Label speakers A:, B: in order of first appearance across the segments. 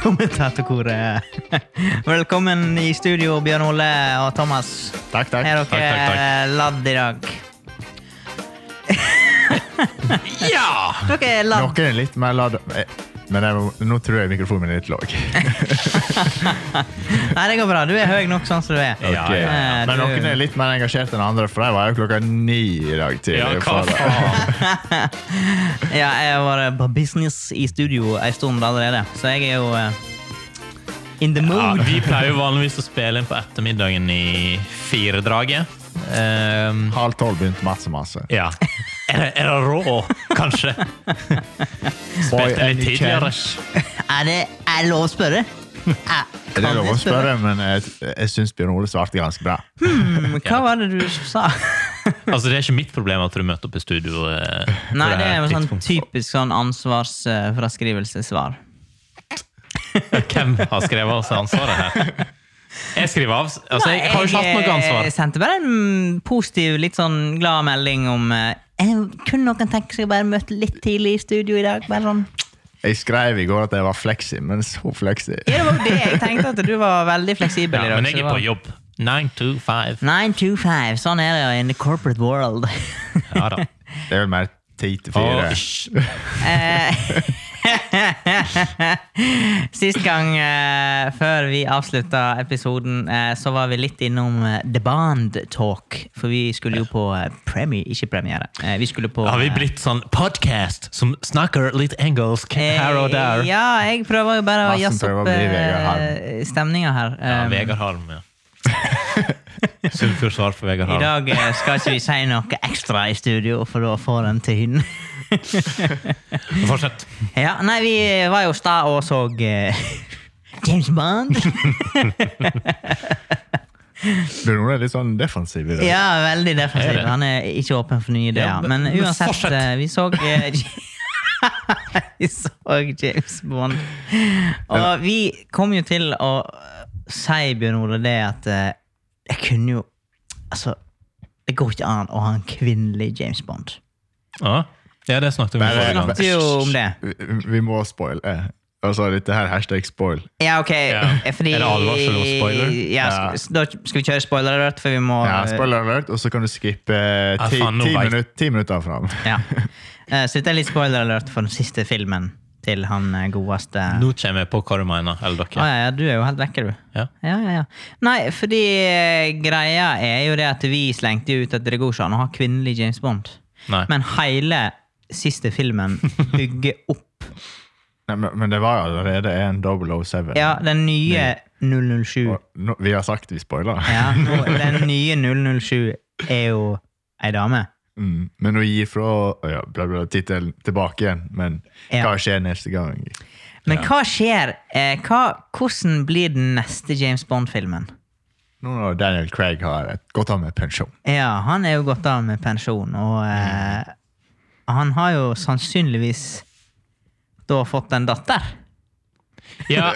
A: kommentatorkoret. Velkommen i studio, Bjørn Ole og Thomas.
B: Takk, takk.
A: Er
B: takk, takk, takk.
A: dere ladd i dag?
B: Ja!
A: Dere er ladd.
B: Noen er litt mer lada. Eh, Men jeg, må- nå tror jeg mikrofonen min er litt lav.
A: Nei, det går bra. Du er høy nok sånn som du er.
B: Ok.
C: ja, ja.
A: Eh,
B: Men
A: du-
B: noen er litt mer engasjert enn andre, for jeg var jo klokka ni i dag tidlig.
C: Ja, hva
B: for-
C: faen?
A: Ja, jeg har vært på business i studio en stund allerede, så jeg er jo eh, in the
C: Ja,
A: mood.
C: vi pleier jo vanligvis å spille inn på ettermiddagen i firedraget. Um,
B: Halv tolv begynte Mats og Masse.
C: ja. Er det, er det rå, kanskje?
B: Boy,
C: Spilte litt
B: any
C: tidligere.
B: chance?
A: Er det er det lov å spørre? Er,
B: Det er
A: kan
B: lov
A: jeg
B: å spørre, men jeg, jeg syns Bjørn Ole svarte ganske bra.
A: Hmm, Hva var det du sa?
C: Altså, det er ikke mitt problem at du møter opp i studio. eh, på
A: Nei, det er
C: her
A: jo sånn
C: tidspunktet.
A: typisk sånn ansvarsfraskrivelsessvar.
C: Hvem har skrevet av seg ansvaret her? Jeg skriver av. Altså, jeg har jo ikke hatt noe ansvar.
A: Jeg eh, sendte bare en positiv, litt sånn glad melding om eh, jeg kunne noen tenke seg å bare møte litt tidlig i studio i dag. Bare sånn
B: Jeg skrev i går at jeg var fleksi, men så fleksi.
A: Ja, det var jo det jeg tenkte, at du var veldig fleksibel i
C: Ja,
A: dag.
C: men
A: så
C: jeg
A: det
C: er
A: var-
C: på jobb. Nine to five.
A: Nine to five. Sånn er det jo in the corporate world.
C: Ja da.
B: Det er vel mer ti til
C: Og,
B: fire.
C: hysj.
A: Eh, Sist gang eh, før vi avslutta episoden, eh, så var vi litt innom eh, The Band Talk. For vi skulle jo på eh, premiere, ikke premiere. Eh, vi skulle på
C: har vi
A: eh,
C: blitt sånn podcast som snakker litt engelsk her og der?
A: eh, Ja, jeg prøver jo bare å
B: Madsen
A: jazze
B: prøver å
A: opp
B: bli Vegard
A: eh, stemninga her.
C: Ja,
A: Um,
C: Vegard Harm, ja. Sunnfjord svar for Vegard
A: I
C: Harm.
A: dag eh, skal ikke vi si noe ekstra i studio, for da får en tynn.
C: Fortsett.
A: Ja, nei, vi var jo sta og så eh, James Bond.
B: Bjørn Ole er litt sånn defensiv i dag.
A: Ja, veldig
C: Er
A: defensiv.
C: det?
A: Han er ikke åpen for nye ideer.
C: Ja,
A: men,
C: men- men
A: uansett,
C: fortsett.
A: eh, vi så eh, Vi så James Bond. Og vi kom jo til å si, Bjørn Ole, det at eh, jeg kunne jo Altså, det går ikke an å ha en kvinnelig James Bond.
C: Ja, ja det snakket vi om
B: Men,
C: forrige gang.
A: snakket jo om det.
B: Vi, vi må spoil. eh. Altså, dette her hashtag spoil.
A: Ja, ok. Eh,
C: Ja.
A: Fordi,
C: Er det advarsel og spoiler?
A: Ja,
B: Ja.
A: skal, da skal vi kjøre spoiler alert, for vi må
B: Ja,
A: eh,
B: spoiler alert, og så kan du skippe eh,
C: Ja,
B: ti,
C: faen, nå
B: ti,
C: vet-
B: minutt, ti minutter fram.
A: Ja. Eh, Så dette er litt spoiler alert for den siste filmen til han eh, godeste Å
C: Nå kommer jeg på hva du mener. Eller dere.
A: ja, ja, du er jo helt vekke, du.
C: Ja.
A: Ja, ja, ja. Nei, fordi eh, greia er jo det at vi slengte jo ut at det går ikke an å ha kvinnelig James Bond.
C: Nei.
A: Men hele siste filmen bygger opp
B: Nei, men, men det var jo allerede en 007.
A: Ja, den nye 007.
B: Og nå, vi har sagt vi spoiler.
A: Ja, nå- den nye 007 er jo ei dame.
B: Mm. Men å gi fra ja, bla, bla, tittelen tilbake igjen, men
A: Ja.
B: hva skjer neste gang?
A: Men hva skjer? Eh, hva, hvordan blir den neste James Bond-filmen?
B: Nå når Daniel Craig har et godt av med pensjon.
A: Ja, han er jo gått av med pensjon, og eh, han har jo sannsynligvis da fått en datter.
C: Ja.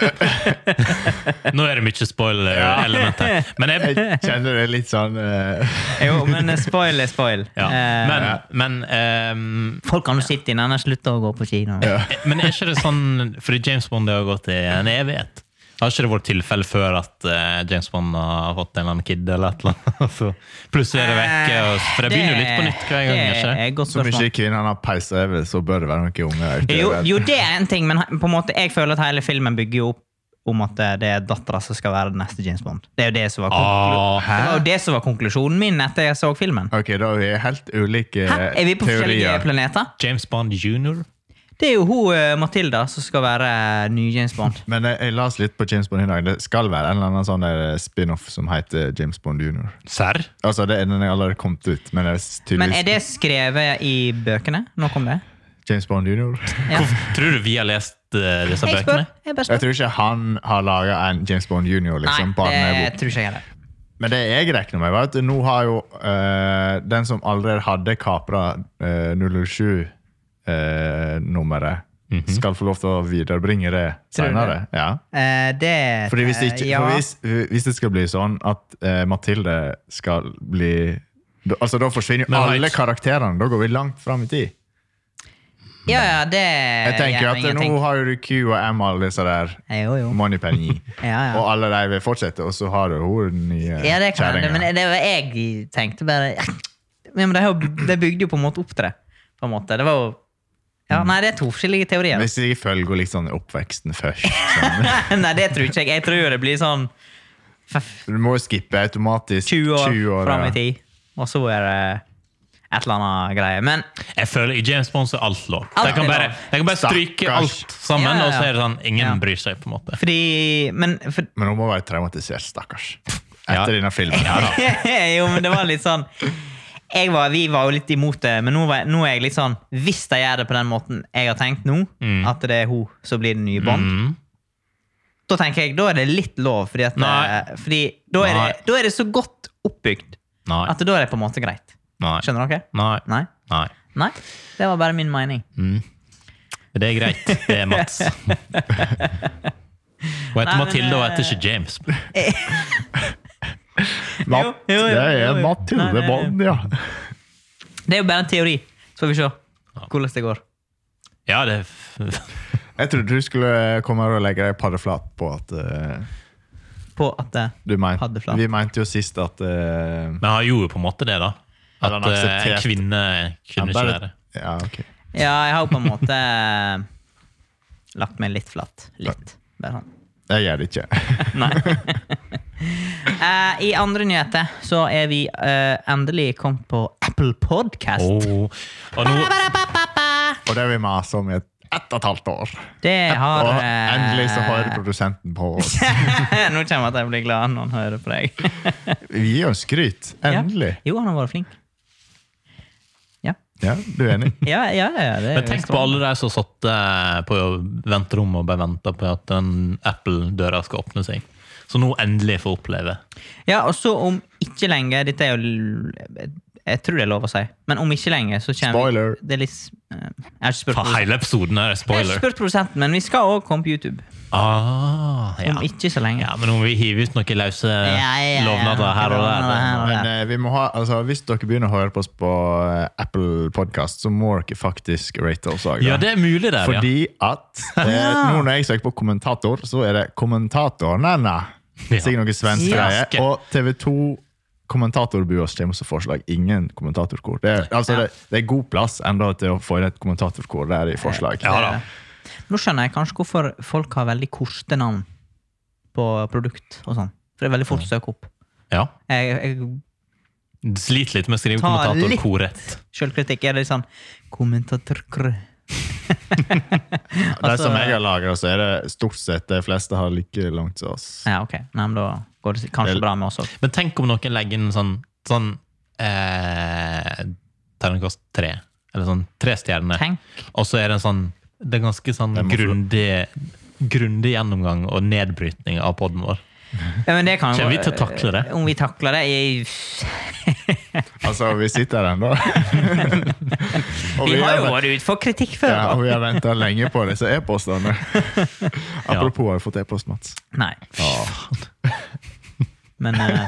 C: Nå er det mye spoiler-element her. Men, jeg,
B: Jeg kjenner det litt sånn eh,
A: Jo, men spoil er spoil.
C: ja.
A: Eh,
C: men, men ehm,
A: folk kan jo sitte inne, han har sluttet å gå på kino.
C: Men er ikke det sånn Fordi James Bond har gått i en evighet. Har ikke det vært tilfelle før at eh, James Bond har fått en eller annen kid? eller et eller annet, så Plutselig er det vekke. og- For det begynner jo litt på nytt hver gang.
A: Det
C: ikke
A: Eh, er
C: det?
A: et godt
B: Så mye
A: spørsmål.
B: kvinner han har peisa over, så bør det være noen unge. ute.
A: Jo, jo, det er en ting, men he- på en måte, jeg føler at hele filmen bygger jo opp om at eh, det er dattera som skal være den neste James Bond. Det er jo det som var, konklu
C: Ah,
A: det var, jo det som var konklusjonen min etter jeg så filmen.
B: Ok, da er vi helt
C: Eh,
B: ulike
A: Hæ? Er vi på forskjellige
B: teorier.
A: planeter?
C: James Bond jr.
A: Det er jo hun eh, Matilda som skal være eh, ny James Bond.
B: Men eh, jeg, jeg las litt på James Bond i dag. Det skal være en eller annen sånn der spin-off som heter eh, James Bond Junior.
C: Serr?
B: Altså, det er den er allerede kommet ut, men det er
A: Men er det
B: tydeligvis
A: skrevet i bøkene? Nok om det.
B: James Bond Junior.
A: Ja.
C: Tror du vi har lest eh, disse
A: Jeg spør.
C: bøkene?
A: Jeg bare
B: Jeg
A: spør.
B: tror ikke han har laga en James Bond Junior,
A: Nei,
B: liksom.
A: det
B: barnebok.
A: tror ikke jeg heller.
B: Men det jeg regner med, var at nå har jo eh, den som allerede hadde kapra eh, 007-nummeret, skal få lov til å viderebringe det
A: Tror du
B: senere. Ja.
A: Eh, det
B: Fordi hvis, det ikke,
A: eh, ja.
B: for hvis, hvis det skal bli sånn at eh, Mathilde skal bli da- Altså Da forsvinner jo
C: Men
B: alle
C: vet-
B: karakterene. Da går vi langt fram i tid.
A: Ja, Eh, ja, det
B: Jeg tenker
A: gjør
B: at
A: ingenting. Eh,
B: nå har du Q og M og alle disse der
A: Jo, jo.
B: moneypenny.
A: Ja, ja.
B: Og alle de vil fortsette, og så har du hun nye
A: Ja, det kan hende,
B: kjerringa.
A: men det var jeg tenkte bare Men det, har jo- det bygde jo på en måte opp til det. På en måte. Det var jo ja, Nei, det er to forskjellige teorier.
B: Mm. Hvis jeg følger litt sånn oppveksten først. Sånn.
A: nei, det tror ikke jeg. Jeg tror jo det blir sånn f-
B: Du må jo skippe automatisk
A: 20 år,
B: 20 år,
A: fram
B: ja.
A: i tid, og så er det et eller annet greie. Men
C: Jeg føler I James Bond så er alt lov.
A: Alt
C: Jeg kan
A: er
C: bare,
A: lov.
C: jeg kan bare stryke
B: Stakkars.
C: alt sammen,
A: Ja, ja, ja.
C: og så er det sånn ingen
A: Ja.
C: bryr seg. på en måte.
A: fordi Men for,
B: Men hun må være traumatisert, stakkars.
C: Ja.
B: Etter denne filmen.
A: jo, men det var litt sånn jeg var, Vi var jo litt imot det, men nå, var, jeg- nå er jeg litt sånn Hvis de gjør det på den måten jeg har tenkt nå, at det er hun som blir den nye Bond,
C: Mm.
A: da tenker jeg, da er det litt lov. Fordi, at, eh,
C: Nei.
A: fordi da, er det,
C: Nei.
A: da er det så godt oppbygd
C: Nei.
A: at da er det på en måte greit.
C: Nei.
A: Skjønner dere?
C: Nei.
A: Nei?
C: Nei.
A: Nei? Det var bare min mening.
C: Det er greit. Det er Mats. Hun heter
A: Nei, men,
C: Mathilde og
A: eh,
C: heter ikke James.
A: Jo,
B: Matt,
A: jo, jo,
B: det
A: jo,
B: er
A: jo. Nei,
B: Mathilde
A: det-
B: Bond, ja.
A: Det er jo bare en teori. Så får vi se hvordan det går.
C: Ja, det
B: Jeg trodde du skulle komme her og legge deg paddeflat på at eh,
A: På at eh,
B: du mente
A: Paddeflat.
B: Vi mente jo sist at eh,
C: Men han gjorde jo på en måte det, da.
B: At
C: At
B: han
C: eh, en
B: aksepterte-
C: kvinne kunne ikke være
B: Ja, ok.
A: Ja, jeg har jo på en måte eh, lagt meg litt flatt. Litt. Bare sånn.
B: Jeg gjør det ikke.
A: Nei. Eh, I andre nyheter så er vi eh, endelig kommet på Apple Podcast.
C: Åh. Og nå,
B: Og det har vi masa om i et, ett og et halvt år.
A: Det har
B: og
A: eh,
B: endelig så hører produsenten på oss.
A: Nå kommer jeg til å bli glad når han hører på deg.
B: Vi gir jo skryt. Endelig.
A: Ja. Jo, han har vært flink. Ja,
B: Ja, du er enig?
A: ja, ja. ja det er
C: men tenk på alle de som satt eh, på venterommet og bare venta på at den Apple-døra skal åpne seg. Så nå endelig får oppleve.
A: Ja, og så om ikke lenge Dette er jo l- Jeg tror det er lov å si, men om ikke lenge så kommer
B: Spoiler.
A: Vi, det er litt, s- eh, jeg har ikke spurt
C: For
A: produsenten.
C: hele episoden her er
A: Jeg har ikke
C: spoiler.
A: spurt produsenten, men vi skal òg komme på YouTube.
C: Ah, ja.
A: Om ikke så lenge.
C: ja, men om vi hiver ut noen løse
A: ja, ja,
C: lovnader her og der
A: lovnader her og
B: Men eh, vi må ha, altså, hvis dere begynner å høre på oss på eh, Apple Podcast, så må dere faktisk rate oss òg.
C: Ja, det er mulig der, ja.
B: Fordi at eh, nå når jeg søker på kommentator, så er det kommentatorene.
C: Ja.
B: Sikkert noe svensk
A: Ja.
B: greie. Og TV 2 kommentatorbua kommer også forslag. Ingen kommentatorkor. Det er, altså,
A: Ja.
B: det, det er god plass enda til å få inn et kommentatorkor der i forslag.
C: Ja da.
A: Eh, Nå skjønner jeg kanskje hvorfor folk har veldig korte navn på produkt og sånn. For det er veldig fort å søke opp.
C: Ja.
A: Jeg, jeg
C: Sliter litt med å skrive
A: Ta litt.
C: kommentatorkorrett.
A: Sjølkritikk er det sånn kommentatorkrø.
B: Det som jeg har laget, så er det stort sett de fleste har like langt som oss.
A: Ja, ok. Nei, men da går det kanskje
B: Vel-
A: bra med oss òg.
C: Men tenk om noen legger inn sånn, sånn eh, Terningkast tre. Eller sånn tre stjerner.
A: Tenk.
C: Og så er det en sånn Det er ganske sånn
B: Jeg må få-
C: grundig Grundig gjennomgang og nedbrytning av poden vår.
A: Ja, men det kan jo-
C: Kommer vi til å takle det?
A: Om vi takler det jeg,
B: Altså, vi sitter her ennå. Og
A: Vi har jo
B: er-
A: vært ute for kritikk før.
B: Ja,
A: da.
B: og vi har venta lenge på disse e-postene. Apropos, har vi fått e-post, Mats?
A: Nei. Men eh,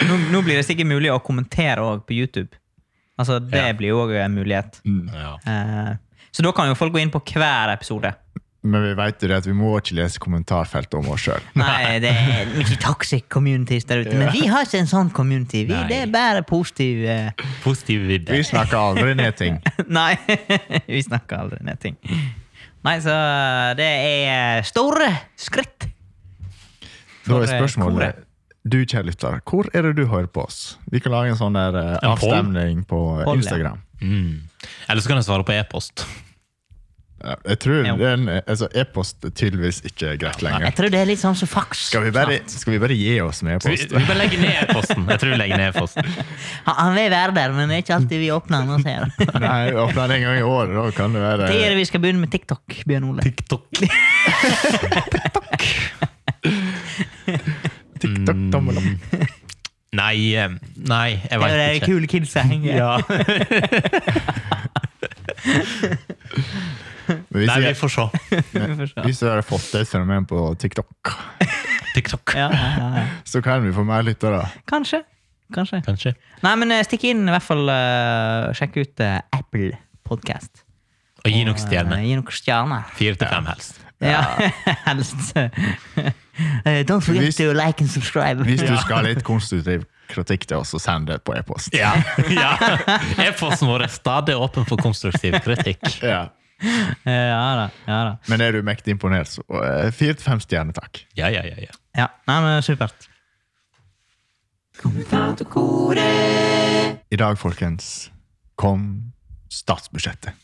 A: nå, nå blir det sikkert mulig å kommentere òg på YouTube. Altså, Det
C: Ja. Mm.
A: blir jo òg en mulighet.
C: Ja.
A: Eh, så da kan jo folk gå inn på hver episode.
B: Men vi vet jo det at vi må ikke lese kommentarfeltet om oss sjøl.
A: Nei, det er mye toxic communities der ute. Men vi har ikke en sånn community. Vi,
C: Nei.
A: det er bare positiv eh,
C: Positiv
B: Vi
C: vibbe.
B: snakker aldri ned ting.
A: Nei, vi snakker aldri ned ting. Nei, så eh, det er store skritt.
B: Da
A: For,
B: er
A: eh,
B: spørsmålet
A: koret.
B: Du, kjære lytter, hvor er det du hører på oss? Vi kan lage en sånn der eh,
C: En poll?
B: avstemning på
A: Poll, ja.
B: Instagram.
C: Mm. Eller så kan jeg svare på e-post.
B: Ja, Jeg tror
A: Jo.
B: den, altså, e-post er tydeligvis ikke er greit lenger.
A: Jeg tror det er litt sånn som fax.
B: Skal vi bare, skal vi bare gi oss med
C: Vi,
B: e-post?
C: vi bare legger ned e-posten. Jeg tror vi legger ned e-posten.
A: Han, han vil være der, men det er ikke alltid vi åpner den. og ser.
B: Nei, åpne den en gang i året, da kan det være
A: Det er det vi skal begynne med TikTok, Bjørn Ole.
C: TikTok.
B: TikTok, tommel opp.
C: Mm. Nei, eh, nei,
A: Det er jo
C: jeg veit
A: de
C: ikke.
A: kule kidsa henger.
B: Men hvis
C: Nei, vi
B: jeg-
C: får se.
A: Vi får se.
B: Hvis du hadde fått et fenomen på TikTok,
C: TikTok,
A: Ja, ja, ja, ja.
B: så kan vi få mer lyttere.
A: Kanskje. Kanskje.
C: kanskje.
A: Nei, men eh, stikk inn i hvert fall. eh, sjekk ut eh, Apple Podcast.
C: Og gi nok stjerne.
A: Eh, Gi nok stjerner.
C: Fire til fem helst.
A: Ja, helst. Eh, Don't forget
B: Hvis-
A: to like and subscribe.
B: Hvis du skal ha litt konstruktiv kritikk til oss, så send det på e-post.
C: Ja. ja. E-posten vår er stadig åpen for konstruktiv kritikk.
B: Ja.
A: Eh, Ja da. ja da.
B: Men er du mektig imponert, så eh, fire til fem stjerner, takk.
C: Ja, ja, ja, ja.
A: Ja, Nei, men eh, supert.
B: I dag, folkens, kom statsbudsjettet.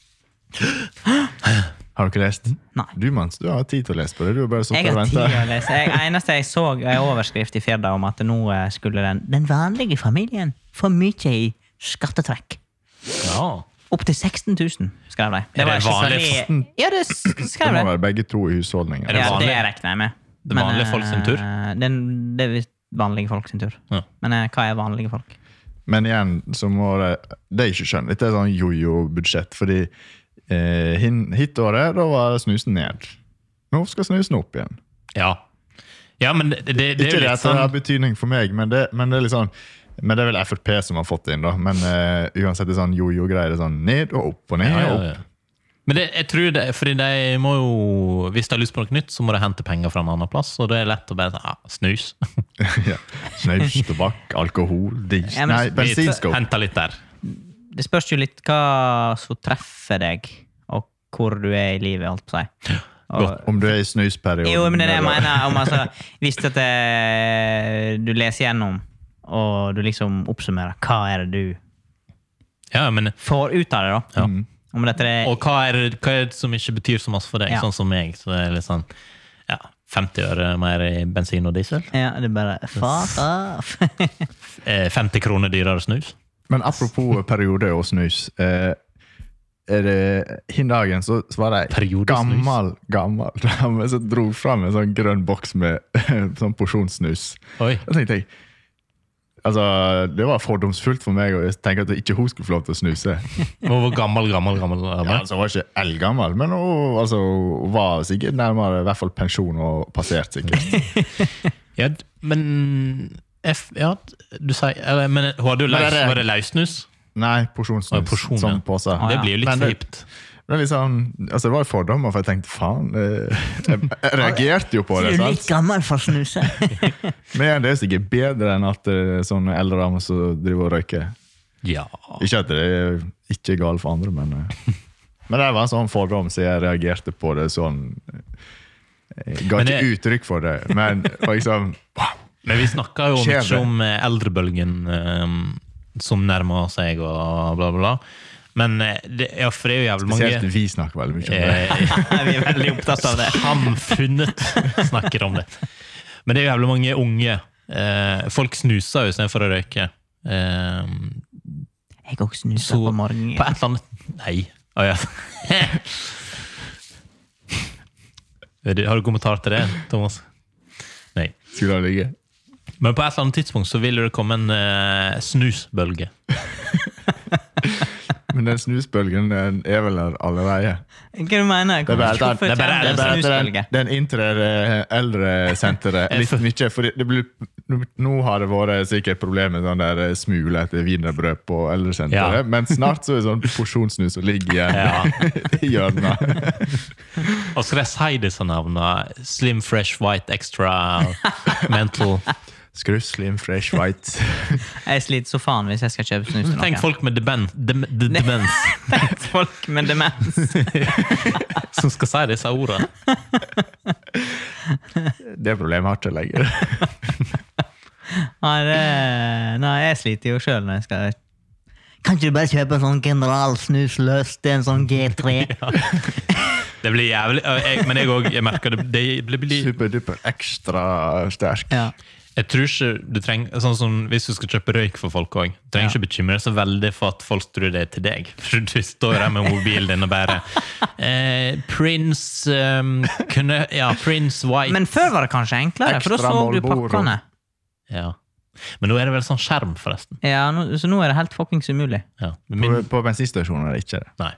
B: Har du ikke lest?
A: Nei.
B: Du, Mans, du har tid til å lese på det. Du har bare
A: Jeg
B: sittet og
A: har tid å
B: venta.
A: lese. Jeg, eneste jeg så en overskrift i Firda om at nå eh, skulle den, den vanlige familien få mye i skattetrekk.
C: ja.
A: Opptil 16 000, skrev de.
C: Er det
A: var ikke så
C: vanlig?
A: li- Ja, det s-
B: Det
A: skrev
B: må
A: de.
B: være begge to i husholdningen.
C: det
A: Ja,
C: vanlig?
A: det regner jeg med.
C: Det er vanlige
A: eh,
C: folk sin tur?
A: den, det er visst vanlige folk sin tur.
C: Ja.
A: Men eh, hva er vanlige folk?
B: Men igjen, så må det Det er ikke skjønt. Dette er sånn jojo-budsjett, fordi eh, hin- hitåret, da var snusen ned. Nå skal snusen opp igjen.
C: Ja, ja men det, det, det
B: Ikke
C: er jo
B: det
C: litt
B: at det har
C: sånn
B: betydning for meg, men det, men det er litt sånn men det er vel Frp som har fått det inn, da. Men eh, uansett, det er sånn jojo-greier. Det er sånn ned og opp og ned
C: ja,
B: og
C: ja,
B: opp.
C: ja. Men det, jeg tror det, fordi de må jo Hvis de har lyst på noe nytt, så må de hente penger fra en annen plass. Og det er lett å bare sånn, ja, snus.
B: ja. Snus, tobakk, alkohol, dis
A: Ja, men-
B: Nei, bensinskåp.
C: Hente litt der.
A: Det spørs jo litt hva som treffer deg, og hvor du er i livet, holdt på å si. Og-
B: Om du er i snusperioden.
A: Jo, men det er det jeg
B: eller-
A: mener. Om, altså, hvis at eh, du leser gjennom, og du liksom oppsummerer hva er det du
C: Ja, men,
A: får ut av det, da.
C: ja.
A: Om dette er
C: Og hva er, hva er det som ikke betyr så masse for deg,
A: Ja.
C: sånn som meg? Så det er litt sånn ja, 50 øre mer i bensin og diesel.
A: ja, det er bare Fuck off!
C: Eh, 50 kroner dyrere snus.
B: Men apropos periode og snus. Eh, er det, hin dagen så, så var det ei
C: Periodesnus.
B: gammel, gammel dame som dro fram en sånn grønn boks med sånn porsjonssnus.
C: Oi.
B: Da tenkte jeg Altså, Det var fordomsfullt for meg å tenke at ikke hun skulle få lov til å snuse.
C: Hun var gammel, gammel, gammel.
B: Ja,
C: gammel.
B: altså, Hun var ikke eldgammel, men hun altså, hun var sikkert nærmere i hvert fall pensjon og passert. sikkert.
C: Ja, d- men F, ja, d- du sier eller, Men hun hadde jo
B: Men
C: løs,
B: er det-
C: var det løssnus?
B: Nei, porsjonssnus.
C: Å, porsjon, ja.
B: sånn pose.
A: ja.
C: Det blir jo litt
B: Men det-
C: kjipt.
B: Men liksom, altså det var jo fordommer, for jeg tenkte faen eh, Jeg jeg reagerte jo på
A: Du
B: det.
A: er litt
B: sant?
A: gammel for å snuse.
B: Men det er jo sikkert bedre enn at eh, sånne eldre damer som driver og røyker.
C: Ja.
B: Ikke at det er ikke galt for andre, men eh. Men det var en sånn fordom, så jeg reagerte på det sånn Jeg ga
C: Men
B: ikke
C: det-
B: uttrykk for det, men liksom wow.
C: Men vi snakka jo
B: Skjer det?
C: mye om eh, eldrebølgen eh, som nærmer seg, og bla, bla, bla. Men eh, det, ja, for det er jo jævlig mange
B: Spesielt vi snakker veldig mye om det.
C: eh,
A: Vi er veldig opptatt av det.
C: Samfunnet snakker om det. Men det er jo jævlig mange unge. Eh, folk snuser jo istedenfor å røyke. Eh,
A: Jeg òg snuser
C: så
A: på
C: på
A: morgenen.
C: et eller annet Nei. Å, ja. Er du- Har du kommentar til det, Thomas? Nei.
B: Skulle det ligge?
C: Men på et eller annet tidspunkt så vil det komme en eh, snusbølge.
B: Men den snusbølgen den er vel der allerede.
A: Hva du mener
B: Det er bare at
A: Hvorfor
B: den-
C: det er bare-
A: kommer det
B: Det er bare
A: en
B: at den,
A: snusbølge?
B: den inntrer eh, eldresenteret litt mye. For det blir, nå har det vært sikkert problemer med sånn der eh, smule etter wienerbrød på eldresenteret,
C: Ja.
B: men snart så er det sånn porsjonssnus som ligger igjen i hjørnet.
C: Og skal jeg si disse navnene? Slim, fresh, white, extra, mental
B: Skru slim, fresh, white.
A: Jeg sliter så faen hvis jeg skal kjøpe snus til
C: Tenk
A: noen.
C: folk med demen, dem, de,
A: Nei.
C: demens
A: Tenk folk med demens.
C: som skal si disse ordene.
B: Det problemet har ikke jeg lenger.
A: Nei, det, nei, jeg sliter jo sjøl når jeg skal Kan ikke du bare kjøpe sånn generalsnus løs til en sånn G3?
C: Det blir jævlig og jeg, Men jeg òg jeg merker det, det blir, blir,
B: Superduper ekstra sterk.
A: Ja.
C: Jeg tror ikke du trenger Sånn som Hvis du skal kjøpe røyk for folk òg, trenger ikke bekymre deg så veldig for at folk tror det er til deg. For du står der med mobilen din og bare eh, Prince ehm, kunne, Ja, Prince White
A: Men før var det kanskje enklere, for da
B: Ekstra
A: så du
B: Marlboro.
A: pakkene.
C: ja. Men nå er det vel sånn skjerm, forresten.
A: Ja, nå, så nå er det helt fuckings umulig.
C: Ja.
B: På,
C: Min,
B: på bensinstasjonen er det ikke det.
C: nei.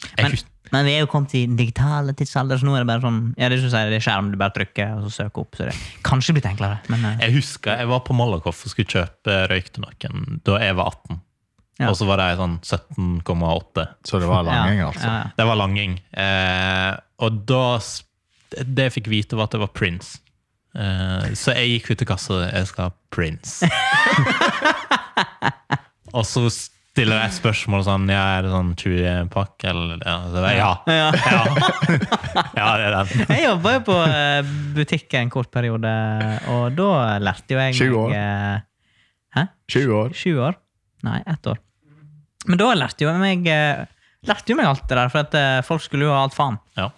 C: Jeg,
A: Men,
C: hus-
A: men vi er jo kommet i den digitale tidsalder, så nå er det bare sånn Ja, det er, som du sier, det er skjerm, du bare trykker og så søker opp. Så det er kanskje blitt enklere, men eh,
C: jeg husker jeg var på Malakoff og skulle kjøpe røyk til noen da jeg var 18.
A: Ja.
C: og så var de sånn 17,8.
B: Så det var langing,
A: Ja,
B: altså.
A: ja, ja.
C: Det var langing. Eh, og da s- Det jeg fikk vite, var at det var Prince. Eh, så jeg gikk ut til kassa og jeg skal ha Prince. og så stiller jeg et spørsmål sånn ja, Er det sånn 20-pakk, eller ja, så det, ja.
A: Ja.
C: ja. Ja, det er den.
A: Jeg jobba jo på eh, butikk en kort periode, og da lærte jo jeg
B: Sju år.
A: meg, eh, Hæ?
B: 20 år.
A: Sju år? Nei, ett år. Men da lærte jo jeg meg, eh, lærte jo meg alt det der, for at eh, folk skulle jo ha alt faen.
C: Ja.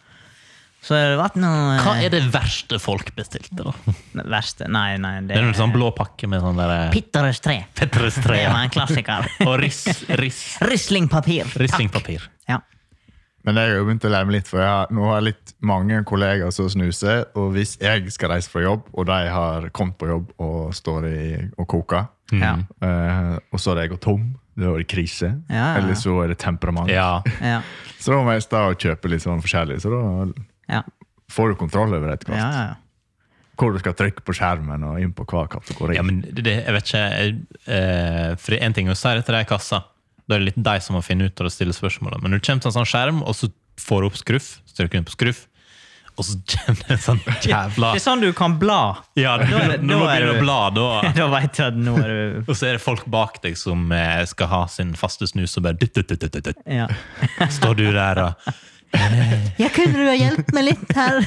A: Så det var ikke noe eh,
C: Hva er det verste folk bestilte, da?
A: verste. Nei, nei,
C: Det
A: det
C: er en sånn blå pakke med sånn der
A: Pitterøes tre.
C: Petres
A: Det var
C: tre
A: en klassiker.
C: og riss, riss,
A: Rislingpapir.
C: risslingpapir.
A: Ja.
B: Men jeg har jo begynt å lære meg litt, for jeg har, nå har jeg litt mange kollegaer som snuser. Og hvis jeg skal reise fra jobb, og de har kommet på jobb og står i, og koker,
A: Mm. Ja.
B: eh, og så har de gått tom, da er det krise.
A: Ja.
B: Eller så er det temperament.
C: Ja.
A: Ja.
B: Så da må jeg stå og kjøpe litt sånn forskjellig, så da
A: Ja.
B: får du kontroll over det
A: Ja,
B: etter hvert.
A: ja, ja.
B: Hvor du skal trykke på skjermen og inn på hver kategori.
C: Ja, men det, det- jeg vet ikke jeg, eh, For en ting er å si det til deg i kassa. Da er det litt deg som må finne ut av det stille spørsmålet. Men når du kommer til en sånn skjerm, og så får du opp skruff, så trykker du inn på skruff, og så kommer det en sånn
A: Det
C: jævla
A: er sånn du kan bla.
C: Ja, du,
A: Da-
C: du må
A: da er
C: begynne å
A: du-
C: bla, da.
A: Da veit du at nå er du
C: Og så er det folk bak deg som eh, skal ha sin faste snus, og bare dytt, dytt, dytt, dytt, dytt, dytt.
A: Ja.
C: Står du der og
A: Ja, kunne du ha hjulpet meg litt her?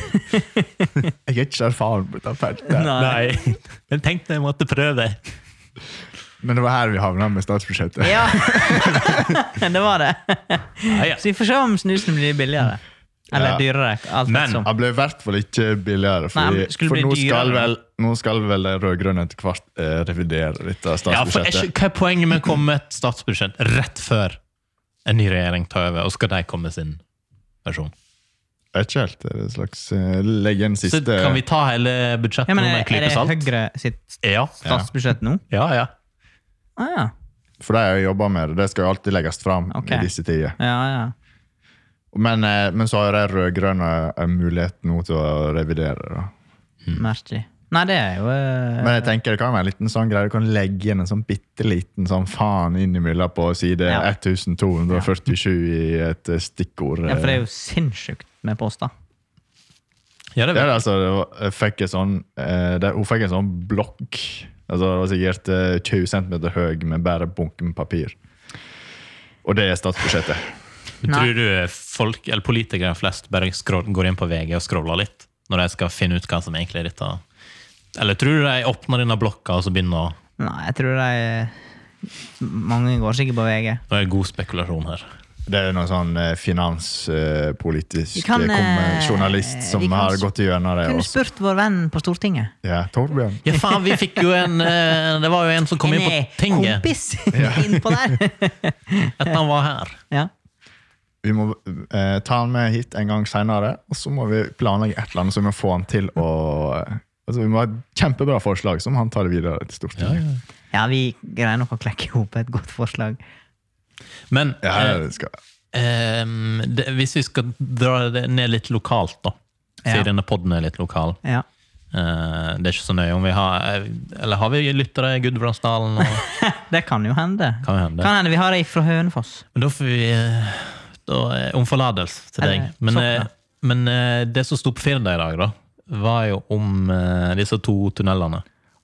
B: Jeg er ikke så erfaren på dette feltet.
C: Nei. Men tenkte jeg måtte prøve.
B: Men det var her vi havna med statsbudsjettet.
A: Ja, det var det.
C: Ja, ja.
A: Så vi får se om snusen blir billigere. Eller
B: Ja.
A: dyrere. Alt
C: Men-
A: ettersom.
B: Han ble i hvert fall ikke billigere,
A: Nei,
B: fordi,
A: men skulle
B: for
A: bli
B: nå
A: dyrere.
B: skal, vel, nå skal vel de rød-grønne etter hvert eh, revidere dette
C: Ja, for er
B: statsbudsjettet.
C: ikke, Hva er poenget med å komme med et statsbudsjett rett før en ny regjering tar over, og skal de komme med sin versjon?
B: Jeg er ikke helt det er en slags eh, Legge en
C: Så
B: siste
C: kan vi ta hele budsjettet
A: Ja, men
C: nå med
A: er,
C: en
A: er
C: klype
A: det
C: salt?
A: Høyre sitt
C: Ja.
A: statsbudsjett nå?
C: Ja, ja.
A: Ah, ja.
B: For det har jeg jobba med, og det skal jo alltid legges fram
A: Ok.
B: i disse tider.
A: Ja, ja.
B: Men, eh, men så har de rød-grønne en mulighet nå til å revidere. Da.
C: Mm.
A: Merkelig. Nei, det er jo eh,
B: Men jeg tenker det kan være en liten sånn greie. Du kan legge inn en sånn bitte liten sånn faen innimellom på side
A: Ja.
B: 1247 i et eh, stikkord.
A: Ja, for det er jo sinnssykt med poster.
C: ja det
B: Det
C: er
B: er altså, det var, jeg fikk en sånn, eh, det, hun fikk en sånn blokk. Altså, det var sikkert eh, 20 cm høy med bare bunken papir. Og det er statsbudsjettet.
C: Men Tror du eh, folk, eller politikere flest bare scroll, går inn på VG og scroller litt? Når de skal finne ut hva som egentlig er dette? Eller tror du de åpner denne blokka og så begynner å
A: Nei, jeg tror de Mange går sikkert på VG.
C: Nå er det god spekulasjon her.
B: Det er noen sånn eh, finanspolitisk
A: Vi kan, eh,
B: kommer- journalist som
A: vi kan
B: har
A: s-
B: gått gjennom det.
A: Kunne
B: Også.
A: spurt vår venn på Stortinget.
B: Ja, Torbjørn.
C: Ja, faen, vi fikk jo en eh, Det var jo en som kom
A: En
C: inn på
A: eh,
C: tinget
A: kompis innpå der.
C: etter han var her.
A: Ja.
B: Vi må eh, ta han med hit en gang senere, og så må vi planlegge et eller annet som vi må få han til å Altså, Vi må ha et kjempebra forslag som han tar videre til Stortinget.
A: ja, vi greier nok å klekke ihop et godt forslag.
C: Men
B: Ja,
C: eh,
B: det skal.
C: Ehm, det, hvis vi skal dra det ned litt lokalt, da. Siden
A: Ja.
C: denne podden er litt lokal.
A: Ja.
C: Eh, det er ikke så nøye om vi har eh, Eller har vi lyttere i Gudbrandsdalen? og-
A: Det kan jo hende.
C: Kan hende.
A: Kan hende vi har ei fra Hønefoss.
C: Men da får vi eh, da, eh, om forlatelse til
A: Eller sånn,
C: deg. Men, eh,
A: Sokna.
C: men eh, det som sto på Firda i dag, da, var jo om eh, disse to tunnelene.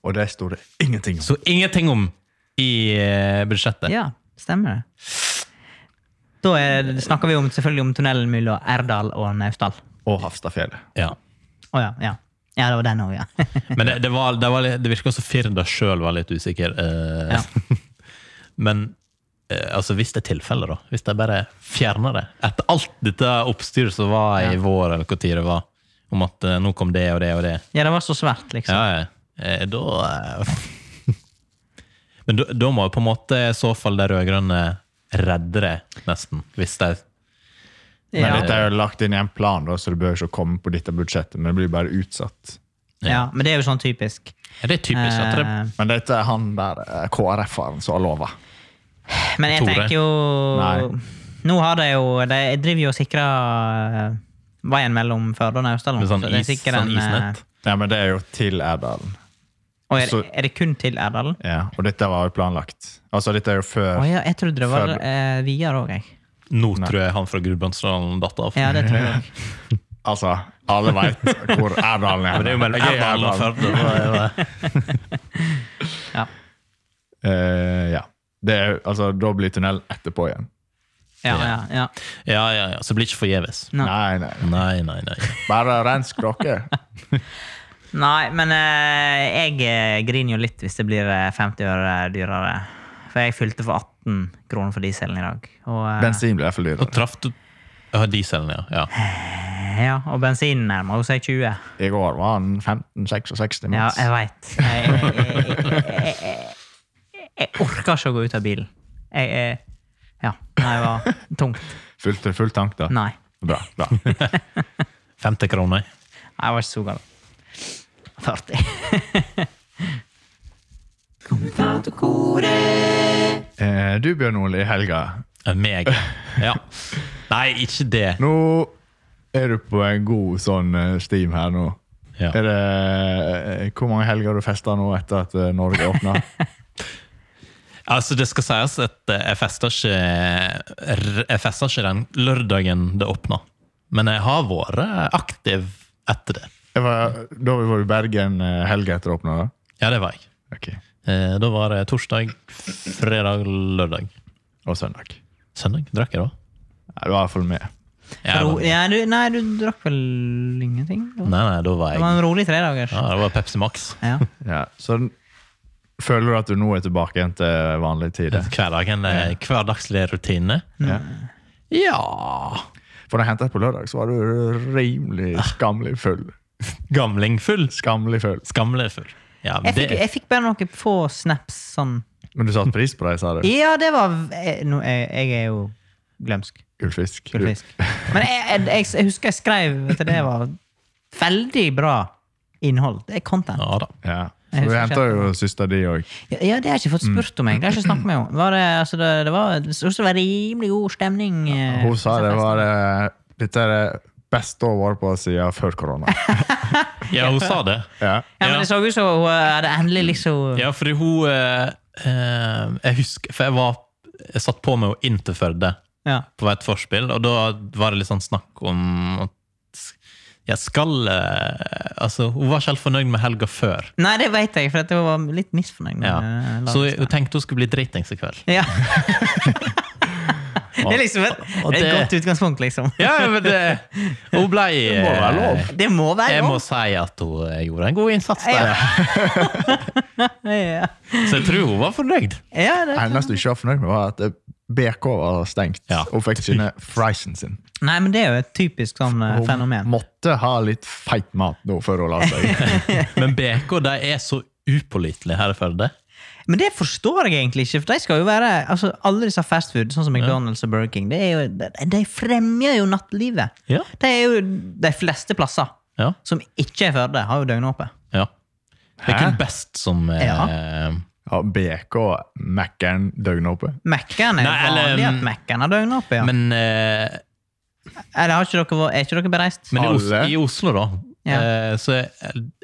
B: Og det står det ingenting om.
C: Så ingenting om i eh, budsjettet.
A: Ja, stemmer det. Da er, snakker vi om, selvfølgelig om tunnelen mellom Erdal og Naustdal.
B: Og Hafstadfjellet.
C: Ja.
A: Å ja, ja. Ja, det var den òg, ja.
C: Men det, det, var, det, var, litt- det virka som Firda sjøl var litt usikker. eh, Men eh, altså, hvis det er tilfellet, da. Hvis de bare fjerner det. Etter alt dette oppstyret som var i vår, eller hvor tid det var, om at eh, nå kom det og det og det.
A: Ja, det var så svært, liksom.
C: Ja, ja. Eh, Da eh, Men da- da må jo på en måte i så fall de rød-grønne redde det, nesten. Hvis de
B: Men
A: Ja,
B: dette er jo lagt inn i en plan, da, så det bør ikke komme på dette budsjettet. Men det blir bare utsatt.
A: ja, men det er jo sånn typisk.
C: Ja, det er typisk at det
A: Eh,
B: Men dette er han der eh, KrF-eren som har lova.
A: Men jeg
C: Tore.
A: tenker jo
B: Nei.
A: Nå har de jo de driver jo og sikrer eh, veien mellom Førde og Naustdal. nå,
C: med sånn,
A: så det er
C: is,
A: sikkert
C: sånn
A: en, eh,
C: isnett.
B: Nei, men det er jo til Erdalen.
A: Og er,
B: Så-
A: er det kun til Erdal?
B: Ja, og dette var jo planlagt. Altså, dette er jo før
A: Å ja, jeg trodde det var
B: Før-
A: eh, videre òg, jeg.
C: Nå tror jeg han fra Gudbrandsdalen datt av.
A: Ja, det tror jeg òg.
B: Altså, alle veit hvor Erdalen er.
C: Men det er jo mellom
B: Jeg er
C: Erdal og
B: Erdalen.
C: Førde. så er det-
A: Ja.
B: Eh, ja. Det er, jo- altså, da blir tunnel etterpå igjen.
A: Ja, ja, ja.
C: Ja, ja, ja. Så det blir ikke forgjeves.
A: Ja.
B: Nei, nei.
C: Nei, nei, nei.
B: Bare rens dere.
A: Nei, men eh, jeg eh, griner jo litt hvis det blir eh, 50 øre dyrere. For jeg fylte for 18 kroner for dieselen i dag. Og, eh,
B: Bensin blir iallfall
C: Nå
B: dyrere.
C: traff du ja, dieselen, ja. ja.
A: Ja, og bensinen nærmer jo seg 20.
B: I går var han 15-66
A: Ja,
B: maks.
A: jeg veit. Jeg, jeg, jeg, jeg, jeg, jeg orker ikke å gå ut av bilen. Jeg, jeg, ja, det var tungt.
B: Fullt full tank, da.
A: Nei,
B: Bra. bra.
C: 50 kroner.
A: jeg var ikke så gal. 40.
B: Eh, du, Bjørn Ole, i helga.
C: Eh, Meg. Ja. Nei, ikke det.
B: Nå er du på en god sånn eh, steam her nå.
C: Ja.
B: Er det, eh, hvor mange helger har du festa nå etter at eh, Norge åpna?
C: Altså, det skal sies at eh, jeg festa ikke, r- jeg festa ikke den lørdagen det åpna. Men jeg har vært aktiv etter det.
B: Jeg var- Da var vi i Bergen eh, helga etter åpna, da?
C: Ja, det var jeg.
B: Ok.
C: Eh, Da var det torsdag, fredag, lørdag.
B: Og søndag.
C: Søndag drakk jeg da.
B: Nei, du var iallfall med.
C: Ja, jeg var- nei,
A: Ja, du, nei, du drakk vel ingenting? Det var-
C: nei, da var
A: Det var
C: jeg
A: en rolig tredagers.
C: ja, Det var Pepsi Max
A: Ja.
B: Ja. Så n- føler du at du nå er tilbake igjen til vanlig tid?
C: hver dag. En eh, hverdagslig rutine.
B: Ja.
C: Ja
B: For da jeg hentet deg på lørdag, så var du rimelig skamlig full.
C: Gamlingfull.
B: Skamlig full.
C: Skamlefull. Ja, men
A: Jeg fikk,
C: det,
A: jeg fikk bare noen få snaps sånn.
B: Men du satte pris på det, sa du?
A: Ja, det var eh, nå, jeg, jeg er jo glømsk.
B: Gullfisk.
A: Gullfisk. Men jeg, jeg, jeg, jeg husker jeg skrev at det var veldig bra innhold. Det er content.
C: ja da.
B: Ja.
A: Jeg
B: Så du
A: husker
B: henta jo søster di òg.
A: Ja, ja, det har jeg ikke
C: Mm.
A: fått spurt om, egentlig. Det har jeg ikke snakket med henne. Var det, altså, det, det var det så ut som det var rimelig god stemning. eh,
B: Hun sa
A: på
B: det
A: festen.
B: var det, dette er det beste hun har vært på siden før korona.
C: Ja, hun sa det.
B: Ja.
A: Ja, men
C: Ja.
A: det så ut som hun hadde endelig liksom
C: Ja, fordi hun eh, eh, Jeg husker For jeg var Jeg satt på meg henne inn til Førde
A: Ja.
C: på vei til forspill, og da var det litt sånn snakk om at jeg skal eh, Altså, hun var ikke helt fornøyd med helga før.
A: Nei, det vet jeg, for at hun var litt misfornøyd. med,
C: Ja.
A: eh,
C: Så
A: laget.
C: hun tenkte hun skulle bli dritings i kveld.
A: ja. Det er liksom et,
C: Og
A: det er et
C: det-
A: godt utgangspunkt, liksom.
C: Ja, men det Hun blei
B: Det må være lov.
A: Det må være
C: Jeg må
A: lov.
C: si at hun eh, gjorde en god innsats der.
A: Ja. Ja,
C: Så jeg tror hun var fornøyd.
A: ja det.
B: Eneste du ikke var fornøyd med, var at eh, BK var stengt.
C: Ja.
B: Hun fikk ikke ned friesen sin.
A: Nei, men det er jo et typisk sånn eh,
B: Hun
A: fenomen.
B: måtte ha litt feit mat nå før hun la seg.
C: Men BK de er så upålitelige her i Førde.
A: Men det forstår jeg egentlig ikke, for de skal jo være altså, Alle disse fastfood, sånn som McDonald's og Burger King, det er jo, de- de fremjer jo nattlivet.
C: Ja.
A: De er jo de fleste plasser
C: Ja.
A: som ikke er Førde, har jo døgnåpent.
C: ja. Det er
B: Hæ?
C: kun best som eh,
B: Ja, BK, Mækkern, døgnåpen.
A: Mekkeren er
C: Nei, eller,
A: vanlig at
C: mm,
A: Mekkeren har døgnåpent, ja.
C: Men, eh,
A: eller har ikke dere, vært- er ikke dere bereist?
C: men i, Oslo,
B: Alle.
C: i Oslo, da,
A: Ja.
C: eh, så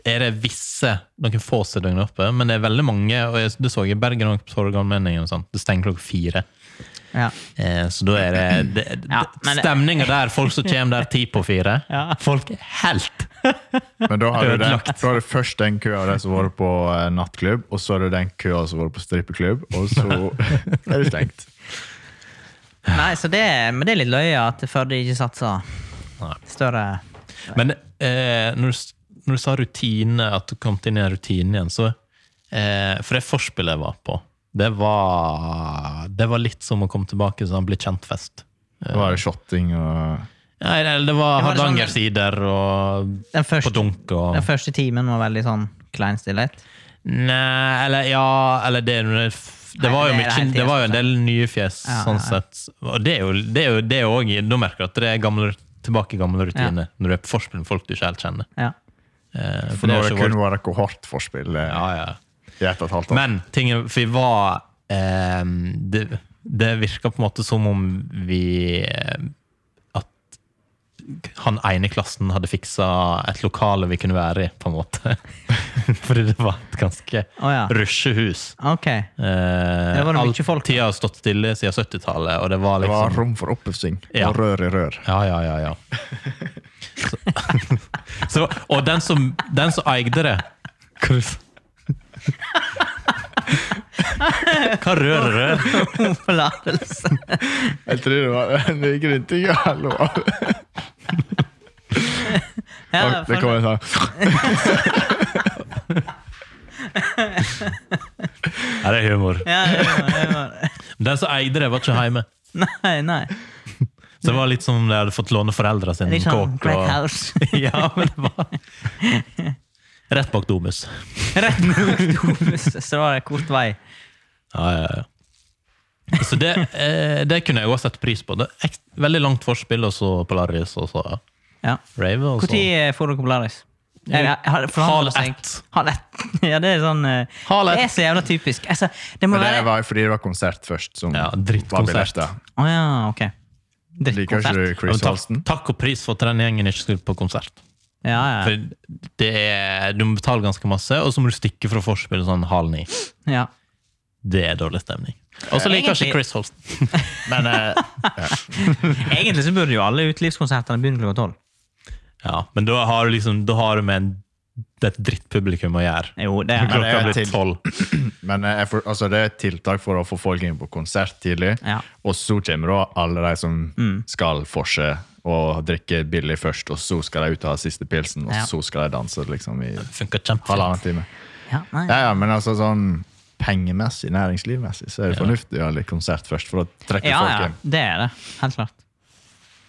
C: er det visse noen få som døgner oppe. Men det er veldig mange, og jeg, det så jeg i Bergen og på Torgallmenningen. og sånt, Det stenger klokka fire.
A: Ja.
C: Eh, så da er det, det, det
A: Ja, men-
C: stemninga der, folk som kommer der ti på fire.
A: Ja.
C: Folk er helt
B: Men da har, du den,
C: Ødelagt.
B: da har du først den køa der som var på eh, nattklubb, og så har du den køa som var på strippeklubb, og så er det stengt.
A: Nei, så det, men det er litt løye at Førde ikke satser
C: Nei.
A: større
C: Men eh, når, du, s- når du sa rutine, at du kom inn i en rutine igjen, så eh, For det forspillet jeg var på, det var, det var litt som å komme tilbake til sånn bli kjent-fest.
B: Da var det shotting og
C: Nei, det,
A: Det
C: det var
A: var det sånn-
C: Hardangersider og
A: Den
C: på
A: første,
C: dunk og
A: den første timen var veldig sånn klein stillhet.
C: Nei, eller ja Eller det, det var jo
A: Nei, det er
C: mye
A: helt
C: Det var jo en del nye fjes,
A: Ja,
C: sånn
A: ja, ja.
C: sett. Og det er jo det er jo- det er jo også- Da merker du at det er gamle, tilbake i gamle rutiner når du er på forspill med folk du ikke helt kjenner.
A: Ja.
C: Eh,
B: For nå
C: har
B: har
C: jo
B: det
C: ikke
B: kun
C: vært-
B: vært kohortforspill eh,
C: Ja, ja.
B: i ett og et halvt år.
C: Men tingen, for vi var eh, det, det virka på en måte som om vi eh, At han ene i klassen hadde fiksa et lokale vi kunne være i, på en måte. Fordi det var et ganske
A: Å ja.
C: rusjehus.
A: Ok.
C: Eh,
A: Det var det mye folk.
C: All tida har stått stille siden 70-tallet, og det var
B: Det var
C: liksom
B: rom for oppussing
C: Ja.
B: og rør i rør.
C: Ja, ja, ja. ja. Så, så, og den som, den som eide det Hva du sa? Hva rører det?
A: Forlatelse.
B: Jeg tror det var en grunting. Hallo.
A: Ja,
B: det
A: for-
B: kommer en sånn
C: Ja, det er humor.
A: ja, det var, det var.
C: Den som eide det, var ikke hjemme.
A: Nei, nei.
C: Så det var litt som om de hadde fått låne foreldra sin
A: Litt sånn
C: kåk.
A: Black
C: Og,
A: House.
C: ja, men det var Rett bak Domus.
A: Rett mot Domus, så det var det kort vei.
C: Ja, ja, ja. Så det, eh, det kunne jeg også sette pris på. Det er ekst, veldig langt forspill, og så Polaris, og så
A: Ja.
C: Rave. Og så.
A: Når eh, får dere Polaris?
C: Halv
A: Halv
C: ett.
A: Halv ett. Ja, det er sånn eh,
C: Halv ett.
A: Det er så jævla typisk. Altså, det må
B: Men det
A: være Å
B: var fordi det var konsert først. Som
C: Ja,
B: var
C: drittkonsert.
B: billetter.
A: ja, ok.
B: Liker ikke
A: Drittkonsert.
B: du
C: Ja, men
B: Chris
C: Takk,
B: Holsten?
C: takk og pris for at den gjengen ikke skulle på konsert.
A: Ja, ja.
C: For det er, Du må betale ganske masse, og så må du stikke fra vorspielet sånn halv ni.
A: ja.
C: Det er dårlig stemning. Og så liker
A: Egentlig-
C: jeg ikke Chris Holsten. Men eh,
A: Egentlig så burde jo alle utelivskonsertene begynne klokka tolv.
C: ja, men da har du liksom Da har du med en, det er et drittpublikum å gjøre.
A: Jo, det er
B: Men det
C: Klokka
B: er
C: blir
B: til-
C: tolv.
B: Men eh, jeg for, altså, det er et tiltak for å få folk inn på konsert tidlig.
A: Ja.
B: Og så kommer da alle de som
C: Mm.
B: skal forse og drikke billig først, og så skal de ut og ha siste pilsen, og
A: Ja.
B: så skal de danse liksom, i
C: Funker kjempefint.
B: halvannen time.
A: ja, nei.
B: Ja, ja, men altså sånn pengemessig, næringslivmessig, så er det fornuftig å ha litt konsert først for å trekke
A: ja,
B: folk
A: ja,
B: inn.
A: det er det. Helt klart. Eh,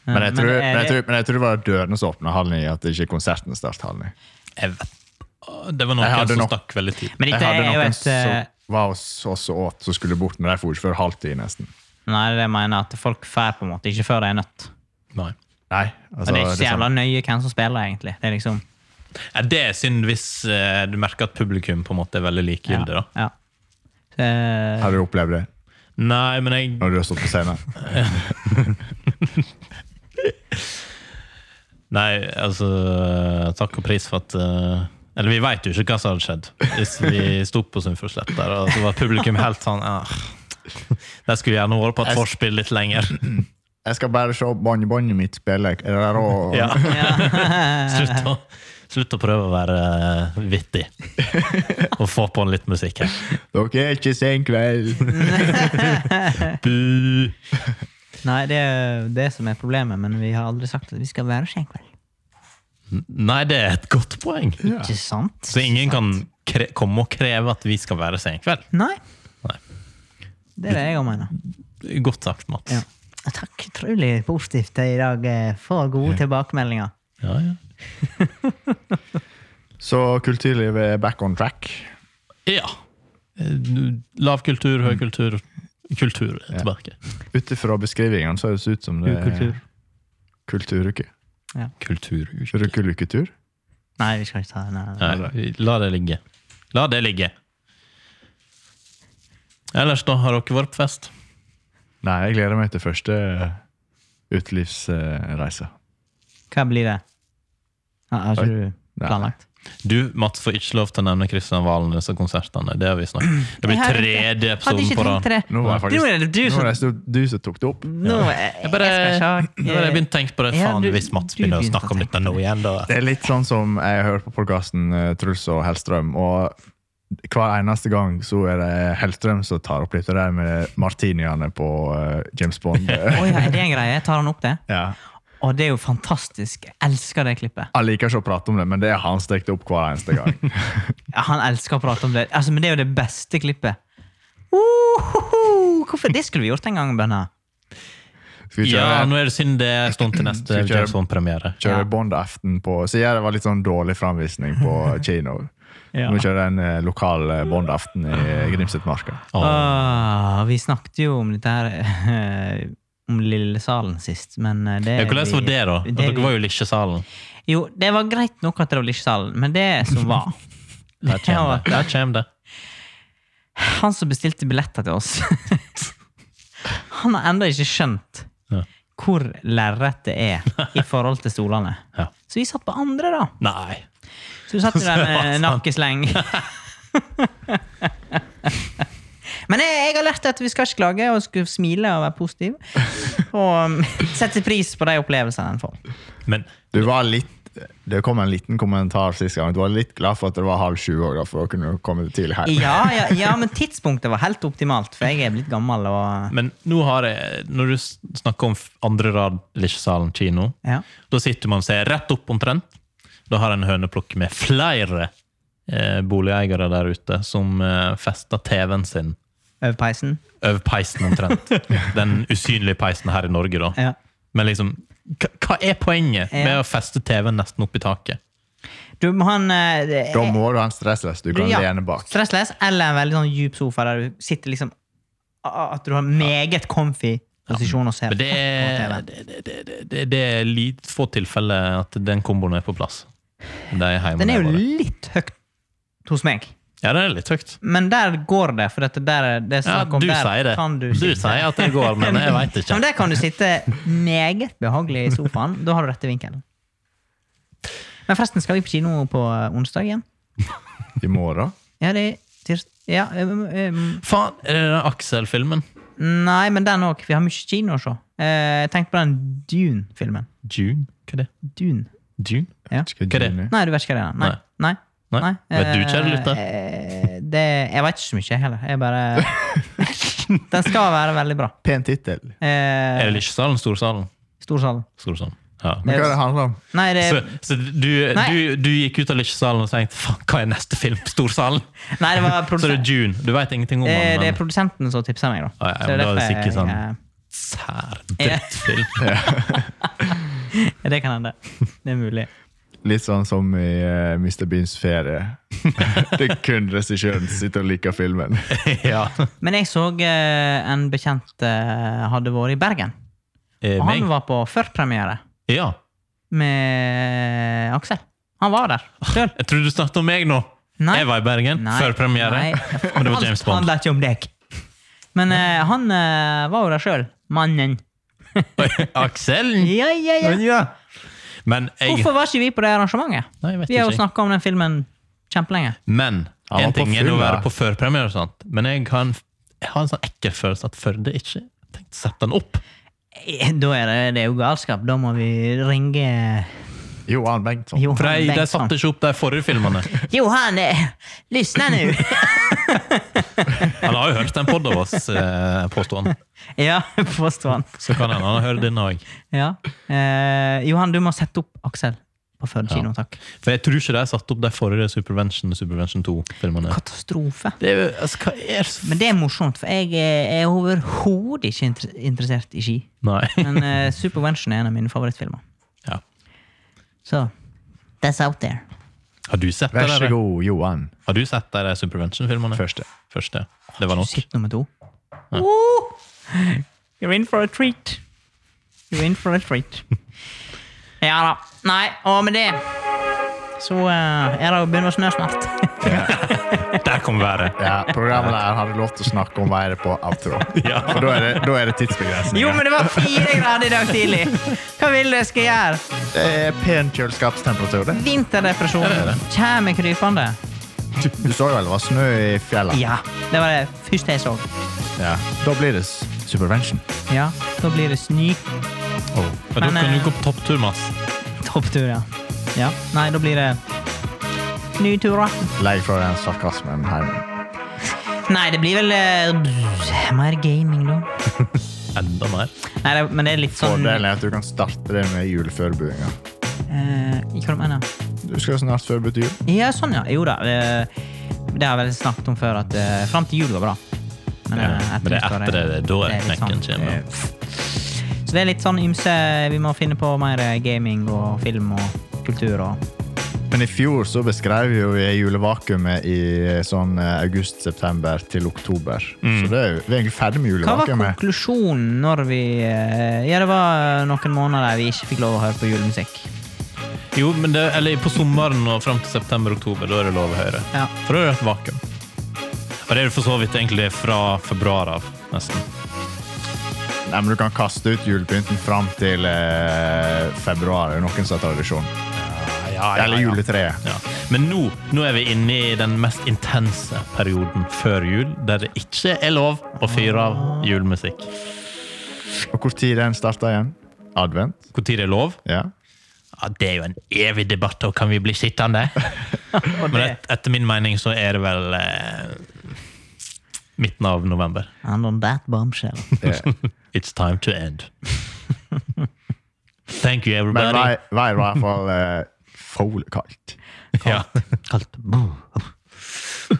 A: Ja,
B: Men jeg, tror,
A: det
B: men,
A: er-
B: jeg tror, men jeg tror det var dørene som åpna halv ni, at det ikke konserten startet halv ni.
C: Jeg vet. Å, Det var
B: Jeg
C: noen
B: hadde
C: som
B: nok-
C: stakk veldig tidlig.
A: Men
B: Jeg
A: dette
B: hadde
A: er jo
B: noen
A: et eh,
B: som var hos oss og åt, som skulle bort, men de for ikke før halv ti, nesten.
A: Nei, det er det jeg mener at folk får på en måte ikke før de er nødt.
C: Nei.
B: Nei,
A: Og
B: altså,
A: det er ikke så
B: det er
A: jævla
B: sånn-
A: nøye hvem som spiller, egentlig. Det er liksom
C: Ja, det er synd hvis eh, du merker at publikum på en måte er veldig likegyldig. da.
A: Ja. Eh,
B: Har du opplevd det
C: Nei, men jeg
B: når du har stått på scenen?
C: Nei, altså Takk og pris for at eh, Eller vi veit jo ikke hva som hadde skjedd hvis vi sto på Sunnfjordsletta der, og så var publikum helt sånn ah, De skulle gjerne vært på et forspill litt lenger.
B: Jeg skal bare se barnebåndet mitt spille. Er det der og...
C: Ja.
A: ja.
C: Slutt, å, slutt å prøve å være eh, vittig og få på litt musikk her.
B: Dere er ikke sen kveld.
C: Bu!
A: Nei, det er jo det som er problemet, men vi har aldri sagt at vi skal være senkveld.
C: Nei, det er et godt poeng.
B: Ja.
A: Ikke sant?
C: Så ingen kan kre komme og kreve at vi skal være senkveld.
A: Nei.
C: Nei.
A: Det er det jeg òg mener.
C: Godt sagt, Mats.
A: Ja. Takk. Utrolig positivt i dag. eh, For gode tilbakemeldinger.
C: Ja, ja.
B: Så kulturlivet er back on track.
C: Ja. Eh, Lav kultur, høy kultur. Kultur er tilbake.
B: Ut ifra beskrivingene så høres det ut som det er kulturuke.
C: Kultur.
B: Rukeluketur.
A: Nei, vi skal ikke ta den. Nei, nei.
C: Nei, la det ligge. La det ligge. Ellers, da, har dere vært på fest?
B: Nei, jeg gleder meg til første eh, utelivsreise.
A: Hva blir det? Har har ikke du
B: Nei.
A: planlagt?
C: Du, Mats, får ikke lov til å nevne Kristian Valen i disse konsertene. Det har vi snakket Det blir
A: Jeg har ikke-
C: tredje
A: Hadde
C: episoden
A: ikke
C: på
A: tenkt
C: rad.
A: til det.
B: Nå var jeg
A: Nå
B: faktisk
A: er det du
B: nå
A: som
B: var det du som tok det opp.
A: Nå jeg,
C: Jeg bare,
A: jeg skal ikke
C: nå har jeg begynt å tenke på det.
A: Ja,
C: Faen,
A: du-
C: hvis Mats
A: du
C: begynner å
A: begynte å
C: snakke
A: tenke
C: om dette nå igjen, da
B: Det er litt sånn som jeg hører på podkasten Truls og Hellstrøm, og hver eneste gang så er det Hellstrøm som tar opp litt av det der med martiniene på eh, James Bond.
A: Å ja, er det en greie? Tar han opp det?
B: ja.
A: Og det er jo fantastisk. Jeg elsker det klippet.
B: Jeg liker ikke å prate om det, men det er han stekte opp hver eneste gang.
A: Ja, han elsker å prate om det. Altså, men det er jo det beste klippet. Ohoho! Hvorfor? Det skulle vi gjort en gang, Bønna.
B: Skal vi
C: Ja,
B: kjøre,
C: nå er det synd det er en stund til neste
B: Skal vi kjøre-
C: James Bond-premiere.
A: Ja.
B: kjøre Bond-aften på Så ja, det var litt sånn dårlig framvisning på kino.
A: Ja.
B: Nå kjører jeg en eh, lokal eh, Bond-aften i Grimsetmarka.
C: Åh.
A: Ah, vi snakket jo om dette her eh, om Lillesalen sist, men eh, det
C: Ja, Hvordan var det, da?
A: det
C: At
A: vi-
C: Dere var jo i Likkjesalen.
A: Jo, det var greit nok at det var Lillesalen, men det som var
C: Der
A: det var
C: kommer det. Der kommer det.
A: Han som bestilte billetter til oss, han har ennå ikke skjønt
C: Ja.
A: hvor lerretet er i forhold til stolene.
C: Ja.
A: Så vi satt på andre, da.
C: Nei.
A: Så du satt jo der
C: Så det var
A: med
C: sant.
A: nakkesleng. Men jeg, jeg har lært at vi skal ikke klage og skal smile og være positiv. Og um, sette pris på de opplevelsene en får.
C: Men
B: Du var litt det kom en liten kommentar sist gang. Du var litt glad for at det var halv sju år, da, for å kunne komme tidlig hjem.
A: Ja, ja, ja, men tidspunktet var helt optimalt, for jeg er blitt gammel. og...
C: Men nå har jeg, når du s- snakker om f- andre rad Lisjesalen kino,
A: Ja.
C: da sitter man og ser rett opp omtrent. Da har en høneplukk med flere eh, boligeiere der ute som eh, fester TV-en sin
A: Over peisen.
C: over peisen omtrent. Den usynlige peisen her i Norge, da.
A: Ja.
C: Men liksom, hva, hva er poenget med
A: Ja.
C: å feste TV-en nesten opp i taket?
A: Du må ha en eh, det-
B: Da må du ha en stressless. Du kan
A: ja,
B: lene bak.
A: Stressless eller en veldig sånn djup sofa der du sitter liksom a- At du har meget comfy posisjon og ser
C: Men det er,
A: på TV.
C: det, det, det, det, det er litt få tilfeller at den komboen er på plass. De hjemme
A: Den er jo
C: der bare.
A: litt høyt hos meg.
C: Ja, den er litt høyt.
A: Men der går det, for dette der, er- det er
C: Ja,
A: snakk om
C: du
A: der
C: sier det.
A: kan du
C: Du
A: sitte.
C: sier at det går, men jeg veit
A: Ja,
C: ikke.
A: men der kan du sitte meget behagelig i sofaen. Da har du rette vinkelen. Men forresten, skal vi på kino på eh, onsdag igjen?
B: I morgen.
A: Ja, det er tirs... Ja, eh, øhm, øhm,
C: Faen, er det den Aksel-filmen?
A: nei, men den òg. Vi har mye kino å se. Eh, Jeg tenkte på den Dune-filmen.
C: June? Hva er det?
A: Dune.
C: June?
A: Ja.
B: Ikke
C: Hva er det?
B: juni.
A: Nei, du vet ikke hva det er. Nei. Nei.
C: Nei. Vet du, kjære
A: Eh,
C: lytter?
A: eh, det, jeg vet ikke så mye, jeg heller. Jeg bare Den skal være veldig bra.
B: Pen tittel.
C: Er det
A: Eh,
C: Lisjesalen? Storsalen?
A: Storsalen.
C: Storsalen. Ja.
B: Men hva er det det handler om?
A: Nei, det,
C: Så, så du,
A: Nei.
C: du, du gikk ut av Lisjesalen og tenkte faen, hva er neste film? Storsalen?
A: nei, det var
C: Så det er
A: produsenten.
C: June. Du veit ingenting om
A: Det,
C: den,
A: Eh, det er
C: men
A: produsenten som tipsa meg, da.
C: Ah, ja,
A: Så
C: men da er det
A: derfor
C: sikkert sånn-
A: jeg- eh,
C: sær drittfilm.
A: Ja, det kan hende. Det er mulig.
B: Litt sånn som i eh, Mr. Beans ferie. det er kun regissøren som sitter og liker filmen.
C: ja.
A: Men jeg så eh, en bekjent eh, hadde vært i Bergen.
C: Eh,
A: Og han
C: Meg?
A: var på førpremiere
C: Ja.
A: med Aksel. Han var der sjøl.
C: Jeg trodde du snakket om meg nå.
A: Nei.
C: Jeg var i Bergen før premiere. Og det var James
A: Alt
C: Bond.
A: handler ikke om deg. Men eh, han eh, var jo der sjøl. Mannen.
C: Aksel?
A: Ja, ja, ja.
C: Ja. Men jeg
A: Hvorfor var ikke vi på det arrangementet?
C: Nei, jeg vet
A: Vi har jo
C: ikke.
A: snakka om den filmen kjempelenge.
C: Men
B: Han var
C: en
B: på
C: ting er det å
B: full,
C: være
B: da.
C: på førpremiere, og sånt, men jeg har en, jeg har en sånn ekkel følelse at Førde ikke har tenkt å sette den opp.
A: Eh, Da er det, det er jo galskap. Da må vi ringe
B: Johan Bengtsson.
A: Johan
C: For de, de
A: Bengtsson.
C: satte ikke opp de forrige filmene.
A: Johan, eh, lyssna nu!
C: Han har jo hørt en podd av oss, eh, påstår han.
A: ja, påstår han.
C: Så kan han, han høre din òg.
A: Ja. Eh, Johan, du må sette opp Aksel på Førde
C: Ja.
A: kino, takk.
C: For jeg tror ikke de har satt opp de forrige Supervention og Supervention 2-filmene.
A: Katastrofe.
C: Det er jo, altså, hva er s-
A: Men det er morsomt, for jeg eh, er overhodet ikke inter interessert i ski.
C: Nei.
A: Men eh, Supervention er en av mine favorittfilmer.
C: Ja.
A: Så that's out there.
C: Har du sett
B: Vær
C: de
B: så
C: der-
B: god, Johan.
C: Har du sett de der Supervention-filmene?
B: Første.
C: Første. Det var nok.
A: Sitt nummer to. Woo! You're in for a treat. You're in for a treat. ja da. Nei, og med det så eh, er det å begynne å snø snart.
C: Der kom været!
B: Ja, Programlederen hadde lov til å snakke om været på outro.
C: Ja.
B: For da er det, da er det tidsbegrensninger.
A: jo, men det var fire grader i dag tidlig! Hva vil du jeg skal gjøre?
B: Det er pen kjøleskapstemperatur. det.
A: Vinterdepresjon kommer krypende.
B: Du så jo vel det var snø i fjellet?
A: Ja, det var det første jeg så.
B: Ja. Da blir det s- supervention.
A: Ja, Da blir det sny.
B: Oh.
C: Men, da
A: Men,
C: kan du
A: eh,
C: gå på topptur, Mats.
A: Topptur, ja. ja. Nei, da blir det nye turer.
B: Lei for den sarkasmen her.
A: Nei, det blir vel eh, mer gaming, da.
C: Enda mer.
A: Nei, det, men det er litt sånn
B: Fordelen er at du kan starte det med juleforberedelser.
A: eh, Hva du mener du?
B: Du skal jo snart forberede jul.
A: Ja, sånn, ja. Jo da. eh, det har jeg vel snakket om før, at uh, fram til jul går bra. Men,
C: Ja,
A: eh,
C: men det er
A: nyttår
C: etter det, da er
A: det litt
C: knekken
A: sånn,
C: kommer.
A: eh, Så det er litt sånn ymse Vi må finne på mer eh, gaming og film og kultur og
B: Men i fjor så beskrev jo vi julevakuumet i sånn eh, august-september til oktober. Så det er jo, vi er egentlig ferdig med
A: Mm. Hva var
B: julevakuumet.
A: konklusjonen når vi eh, Ja, det var noen måneder der vi ikke fikk lov å høre på julemusikk.
C: Jo, men det, eller på sommeren og fram til september-oktober, da er det lov å høre.
A: Ja.
C: For da er det et vakuum. Og det er det for så vidt egentlig fra februar av, nesten.
B: Nei, men Du kan kaste ut julepynten fram til eh, februar. Det er noen som har tradisjon.
C: Ja,
B: Eller juletreet.
C: Ja. Men nå, nå er vi inne i den mest intense perioden før jul, der det ikke er lov å fyre av julemusikk.
B: Og hvor tid den starter igjen? Advent?
C: Når er det lov?
B: Ja.
C: Ja, det er jo en evig debatt, og kan vi bli sittende?
A: Og
C: Men
A: det
C: et, etter min mening så er det vel eh, midten av november.
A: And on that bombshell.
B: Det-
C: It's time to end. Thank you,
B: Men
C: everybody.
B: været var i hvert fall eh, folekaldt.
C: Ja.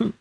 A: Kalt.